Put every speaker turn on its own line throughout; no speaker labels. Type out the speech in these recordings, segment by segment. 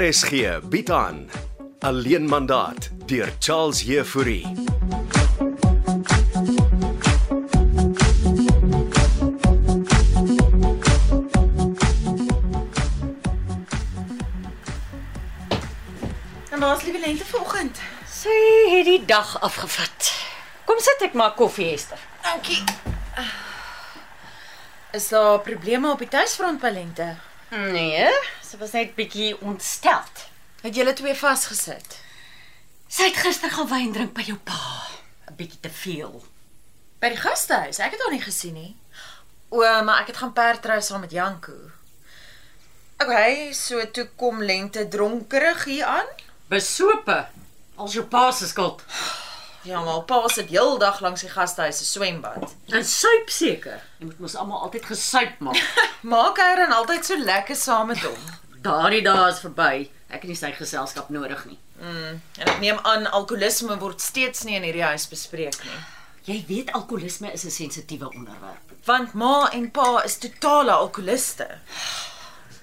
RSG bied aan Alleen mandaat deur Charles Heffouri.
En waar's liewe lente vanoggend?
Sy het die dag afgevat. Kom sit ek maak koffie, Hester.
Dankie. Is daar probleme op die tuisfront by lente?
Nee, sy was net bietjie ontsteld.
Het julle twee vasgesit?
Sy het gister gaan wyn drink by jou pa. 'n Bietjie te veel.
By die gastehuis. Ek het haar nie gesien nie. O, maar ek het gaan perdry saam met Janko. Okay, so toe kom lente dronkerig hier aan.
Besope. Als jou pa se skuld.
Ja, maar pa sit heeldag langs die gastehuis se swembad.
En suip seker. Jy moet mos almal altyd gesuip maak.
Maak haar en altyd so lekker saam met hom.
Daardie dae is verby. Ek het nie sy geselskap nodig nie.
En ek neem aan alkoholisme word steeds nie in hierdie huis bespreek nie.
Jy weet alkoholisme is 'n sensitiewe onderwerp.
Want ma en pa is totale alkoholiste.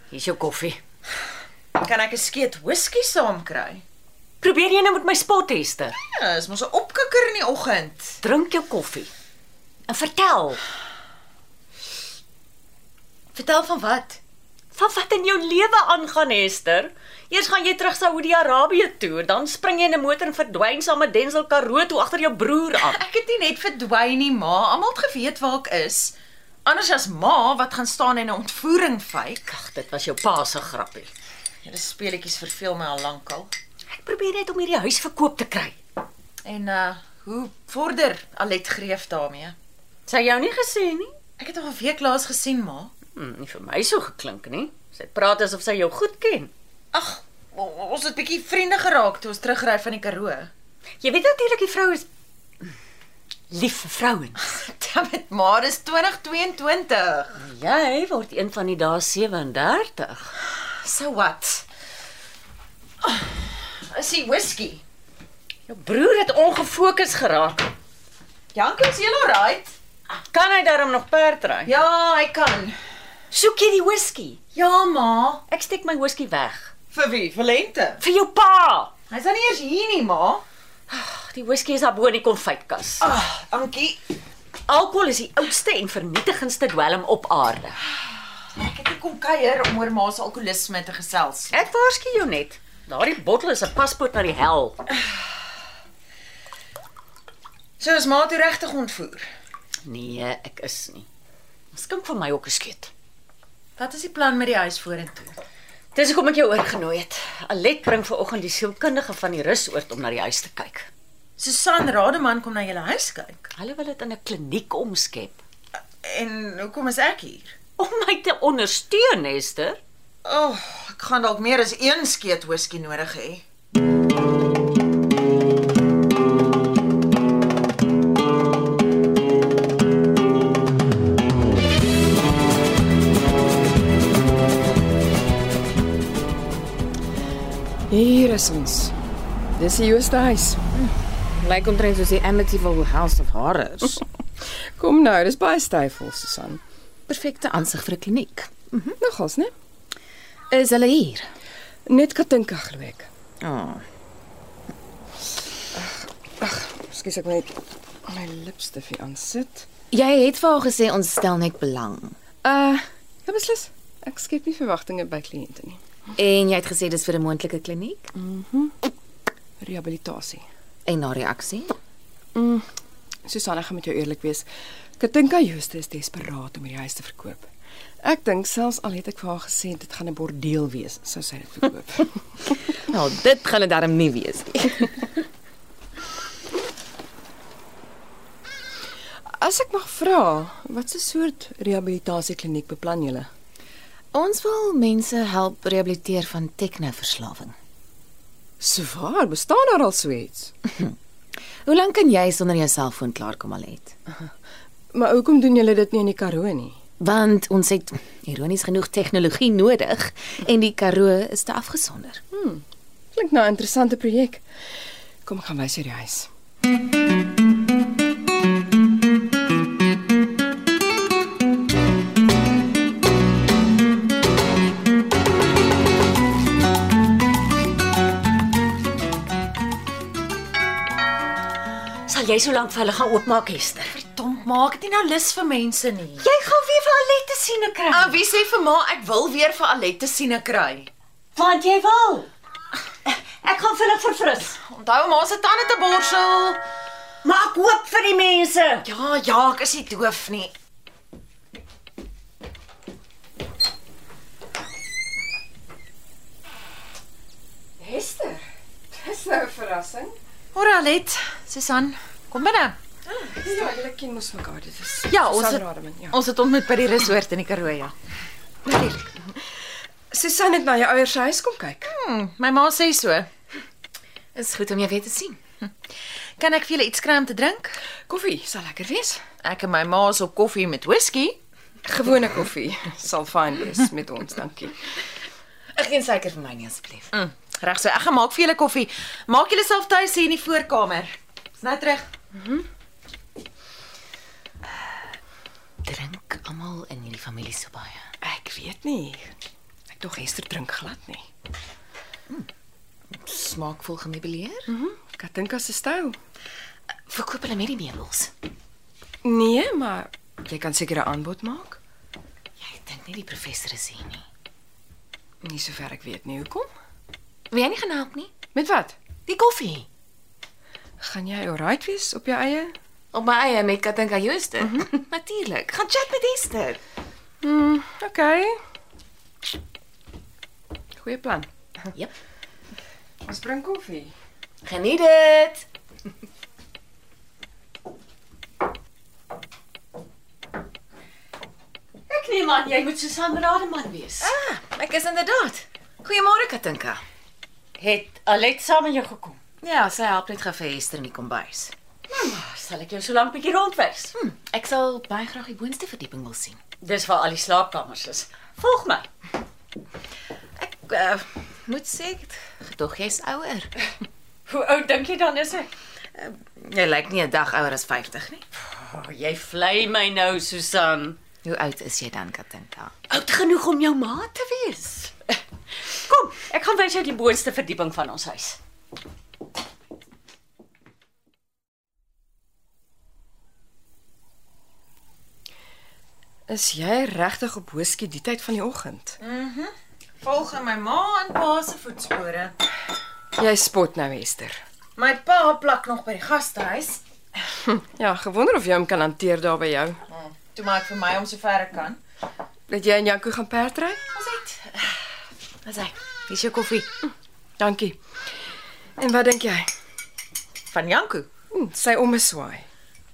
Hier's jou koffie.
Kan ek 'n skeet whisky saam kry?
Probeer jy nou met my spot, Hester.
Ja, is mos 'n opkikker in die oggend.
Drink jou koffie. En vertel
Vertel van wat?
Van wat in jou lewe aangaan, Hester? Eers gaan jy terug Saudi-Arabië toe, dan spring jy in 'n motor en verdwyn saam met Denzel Karoo toe agter jou broer aan.
Ek het nie net verdwyn nie, ma. Almal het geweet waar ek is. Anders as ma wat gaan staan en 'n ontvoering fake.
Ag, dit was jou pa se grappie.
Julle Ja, speletjies verveel my al lankal.
Ek probeer net om hierdie huis verkoop te kry.
En uh hoe vorder Alet Greef daarmee?
Sy het jou nie gesê nie?
Ek het haar 'n week laas gesien, ma.
Hm, nie vir my so geklink nie. Sy praat asof sy jou goed ken.
Ag, o- ons het bietjie vriende geraak toe ons terugry van die Karoo.
Jy weet natuurlik die vrou is lief vir vrouens.
Damit Ja, ma, dis 2022.
Jy word een van die dae 37.
So wat? Oh, is die whisky?
Jou broer het ongefokus geraak.
Janko, is jy alright?
Kan hy daarom nog perdry?
Ja, hy kan.
Soek jy die whisky?
Ja, ma.
Ek steek my whisky weg
Vir wie? Vir lente.
vir jou pa.
Hy's dan nie eers hier nie, ma.
Die whisky is daar bo in die konfytkas.
Ag, oh, dankie.
Alkohol is die oudste en vernietigendste dwelm op aarde.
Ek het gekom kuier om oor ma se alkoholisme te gesels.
Ek waarsku jou net. Daardie bottel is 'n paspoort na die hel.
So is ma toe regtig ontvoer.
Nee, ek is nie. Skink vir my ook 'n skiet.
Wat is die plan met die huis vorentoe?
Dis hoekom ek jou oorgenooi het. Alet bring vanoggend die sielkundige van die rusoord om na die huis te kyk.
Susan Rademan kom na julle huis kyk.
Hulle wil dit in 'n kliniek omskep
En hoekom is ek hier?
om my te ondersteun, Esther.
O, oh, ek gaan dalk meer as een skeet whisky nodig hê.
Hier is ons. Dis die Jooste huis.
Hmm. Lyk omtrent soos die Amityville House of Horrors.
Kom nou, dis baie styfvol, Susan. Mhm,
Perfekte aansig vir 'n kliniek.
Nogals, né?
Is hulle hier?
Net Katinka glo ek.
Ah,
Ekskuus ek moet net my lipstifie aansit.
jy het vir haar gesê ons stel net belang.
Uh, ja beslis. Ek skep nie verwagtinge by kliënte nie.
En jy het gesê dis vir 'n moontlike kliniek
Rehabilitasie.
en haar reaksie.
Susan, ek gaan met jou eerlik wees. Katinka Jooste is desperaat om hierdie huis te verkoop. Ek dink selfs al het ek vir haar gesê dit gaan 'n bordeel wees, sou sy dit verkoop.
Nou, dit gaan dit darm nie wees nie.
As ek mag vra, watse soort rehabilitasiekliniek beplan julle?
Ons wil mense help rehabiliteer van teknoverslawing.
Swaar, bestaan daar al so iets?
Hoe lank kan jy sonder jou selfoon klaarkom Alet?
Maar hoekom doen julle dit nie in die Karoo nie?
Want ons het ironies genoeg tegnologie nodig en die Karoo is te afgesonder.
Klink nou 'n interessante projek. Kom ek gaan wys jou die huis.
jy so lank vir hulle gaan oopmaak, Hester?
Verdomp, maak dit nie nou lus vir mense nie.
Jy gaan weer vir Alette siene kry.
Ah, wie sê vir ma ek wil weer vir Alette siene kry?
want jy wil. Ek gaan vinnig verfris.
Onthou ma se tande te borsel.
Maar ek hoop vir die mense.
Ja, ja, ek is nie doof nie.
Hester. Dis nou 'n verrassing.
Hoor Alet, Susan, kom binne.
Ja, julle ken mos mekaar. Dit is
Ja, ons
Susan
het-
Rademan, ja.
Ons het ontmoet by die resort in die Karoo, ja.
Susan het na jou ouers se huis kom kyk.
Hm, my ma sê so. Hm.
Is goed om jou weer te sien.
Kan ek vir julle iets kry om te drink?
Koffie sal lekker wees.
Ek en my ma is op koffie met whisky.
Gewone koffie sal fyn wees met ons, dankie.
Ag, geen suiker vir my nie asseblief.
Mm, Reg so, ek gaan maak vir julle koffie. Maak julle self tuis hier in die voorkamer. Dis nou terug.
Drink almal in hierdie familie so baie.
Ek weet nie. Ek dog Hester drink glad nie.
Smaakvol Hmm. gemeubileer.
Mhm. Katinka se styl.
Verkoop hulle met die meubels.
Nee, maar jy kan seker 'n aanbod maak.
Jy Ja, dink nie die professor is hier nie.
Nie sover ek weet nie hoekom.
Wil jy nie gaan help nie?
Met wat?
Die koffie.
Gaan jy alright wees op jou eie? Mhm.
Op my eie met Katinka Jooste. Mm -hmm. Natuurlik. Gaan chat met Esther.
Mm, okay. Goeie plan.
Jep.
Ons bring koffie.
Geniet dit.
Ek neem aan jy moet Susan Rademan wees.
Ah, ek is inderdaad. Goeiemôre Katinka.
Het Alette saam met jou gekom?
Ja, sy help net gou vir Esther in die kombuis.
Sal ek jou so lank bietjie rondwys? Hm.
Hm, ek sal baie graag die boonste verdieping wil sien.
Dis waar al die slaapkamers is. Volg my.
Ek uh, moet sê ek het gedog jy's ouer.
Hoe oud dink jy dan is ek?
Jy lyk nie 'n dag ouer as 50 nie.
Oh, jy vlei my nou, Susan.
Hoe oud is jy dan, Katinka?
Oud genoeg om jou ma te wees. Kom, ek gaan wys jou die boonste verdieping van ons huis.
Is jy regtig op hoeskie die tyd van die oggend?
Volg in my ma en pa se voetspore.
Jy spot nou, Hester.
My pa plak nog by die gastehuis.
Ja, gewonder of jy hom kan hanteer daar by jou.
Hm, toe maak vir my om sover ek kan.
Dat jy en Janko gaan perdry?
Ons het
Wat sê? Dis jou koffie.
Hm. Dankie. En wat dink jy?
van Janko.
Hm, Sy om 'n swaai.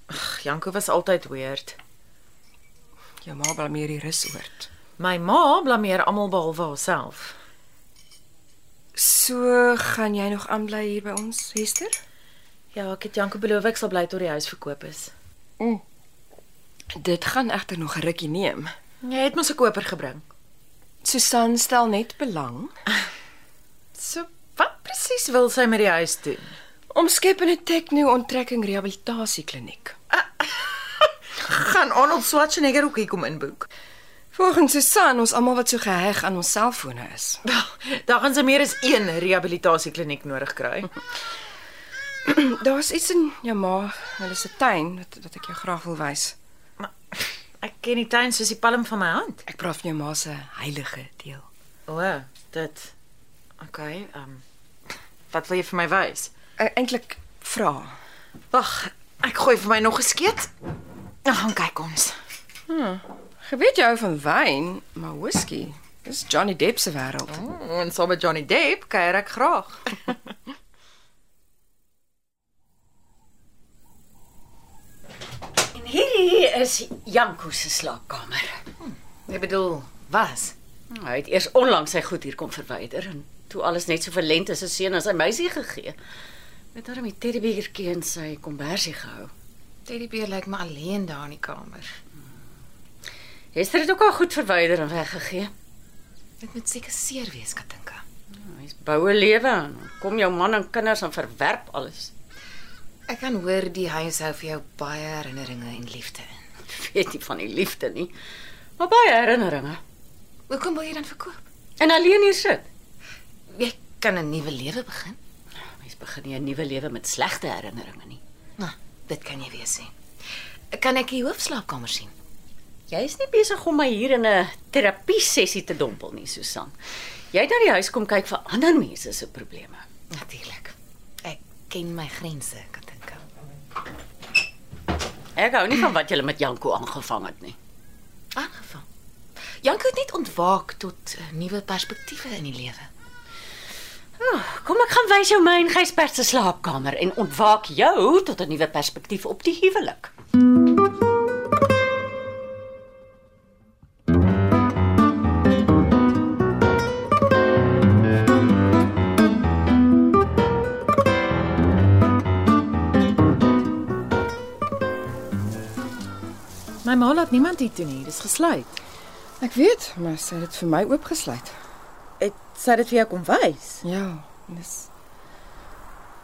Ag, Janko was altyd weird.
Jou ma blameer die rusoort.
My ma blameer almal behalwe haarself.
So gaan jy nog aanbly hier by ons, Hester?
Ja, ek het Janko beloof ek sal bly tot die huis verkoop is.
Dit gaan egter nog 'n rukkie neem.
Jy het mos 'n koper gebring.
Susan stel net belang
So wat presies wil sy met die huis doen?
om skep in 'n tekno onttrekking rehabilitasie kliniek.
Gaan Arnold Schwarzenegger ook hier kom inboek.
Volgens Susan ons almal wat so geheg aan ons selfone is.
Daar gaan sy meer as een rehabilitasiekliniek nodig kry.
Daar's iets in jou ma, hulle se tuin wat wat ek jou graag wil wys.
Ek ken die tuin soos die palm van my hand.
Ek praat van jou ma se heilige deel.
O, dit. OK, ehm um, wat wil jy vir my wys?
E- Eintlik vra.
Wag, ek gooi vir my nog 'n skeet. Dan gaan kyk ons.
Geweet jy hou van wyn, maar whisky Dis Johnny Depp se wêreld.
Ons Hmm, saam met Johnny Depp kuier ek graag.
En hierdie is Janko se slaapkamer.
Ek bedoel, was.
Hy het eers onlangs sy goed hier kom verwyder en toe alles net so verlent is, 'n seun aan sy meisie gegee. Met haar met teddybeertjie in sy kombersie gehou.
Teddybeer lyk maar alleen daar in die kamer.
Hester het ook al goed verwyder en weggegee.
Dit moet seker seer wees, Katinka.
Hy's boue lewe en dan kom jou man en kinders en verwerp alles.
Ek kan hoor die huis hou vir jou baie herinneringe en liefde in.
Weet nie van die liefde nie. Maar baie herinneringe.
Hoekom wil jy dan verkoop?
En alleen hier sit.
Jy kan 'n nuwe lewe begin.
Mens begin nie 'n nuwe lewe met slegte herinneringe nie.
Nou, Dit kan jy weer sien. Kan ek die hoofslaapkamer sien?
Jy's nie besig om my hier in 'n terapie sessie te dompel nie, Susan. Jy het na die huis kom kyk vir ander mense se probleme.
Natuurlik. Ek ken my grense, Katinka.
Ek hou nie van wat jy met Janko aangevang het nie.
Aangevang. Ah, Janko het net ontwaak tot eh, nuwe perspektiewe in die lewe.
Oh, kom ek gaan wys jou my en Gysbert se slaapkamer en ontwaak jou tot 'n nuwe perspektief op die huwelik.
My ma laat niemand hier toe nie. Dis gesluit.
Ek weet, maar sy het dit vir my oopgesluit.
Het sy dit vir jou kom wys?
Ja, en dis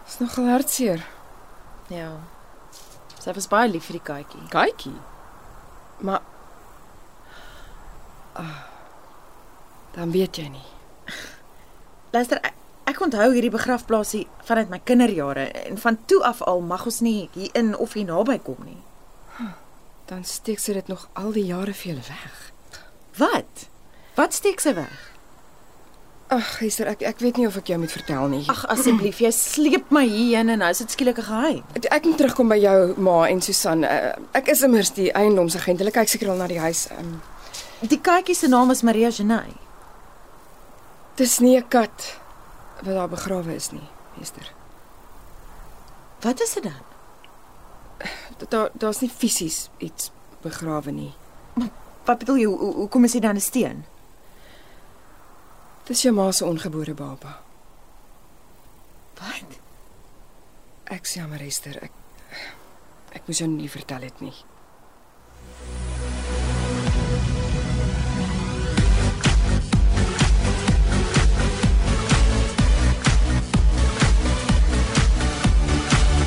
Dis nogal hartseer.
Ja. Sy was baie lief vir die katjie.
Kykie. Maar ah, dan weet jy nie.
Luister, ek, ek onthou hierdie begrafplaasie vanuit my kinderjare en van toe af al mag ons nie hier in of hier naby kom nie.
Dan steek sy dit nog al die jare vir julle weg.
Wat? Wat steek sy weg?
Ag, gister ek ek weet nie of ek jou moet vertel nie.
Ag asseblief, jy sleep my hierheen en nou is dit skielik 'n geheim.
Ek, ek moet terugkom by jou ma en Susan. Uh, ek is immers die eiendomsagent. Hulle kyk seker al na die huis. Um,
Die katjie se naam is Maria Genay.
dis nie 'n kat wat daar begrawe is nie, meester.
Wat is dit dan?
Da- Daar daar's nie fisies iets begrawe nie.
Wat bedoel jy? Hoe, hoe kom is dit dan 'n steen?
Dis jou ma se ongebore baba.
Wat?
Ek sê "Ja, maar Esther, ek ek moes jou nie vertel het nie.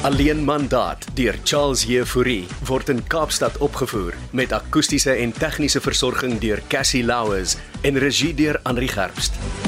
Alleen mandaat deur Charles Jefouri word in Kaapstad opgevoer met akoestiese en tegniese versorging deur Cassie Louws en regie deur Henri Gerst.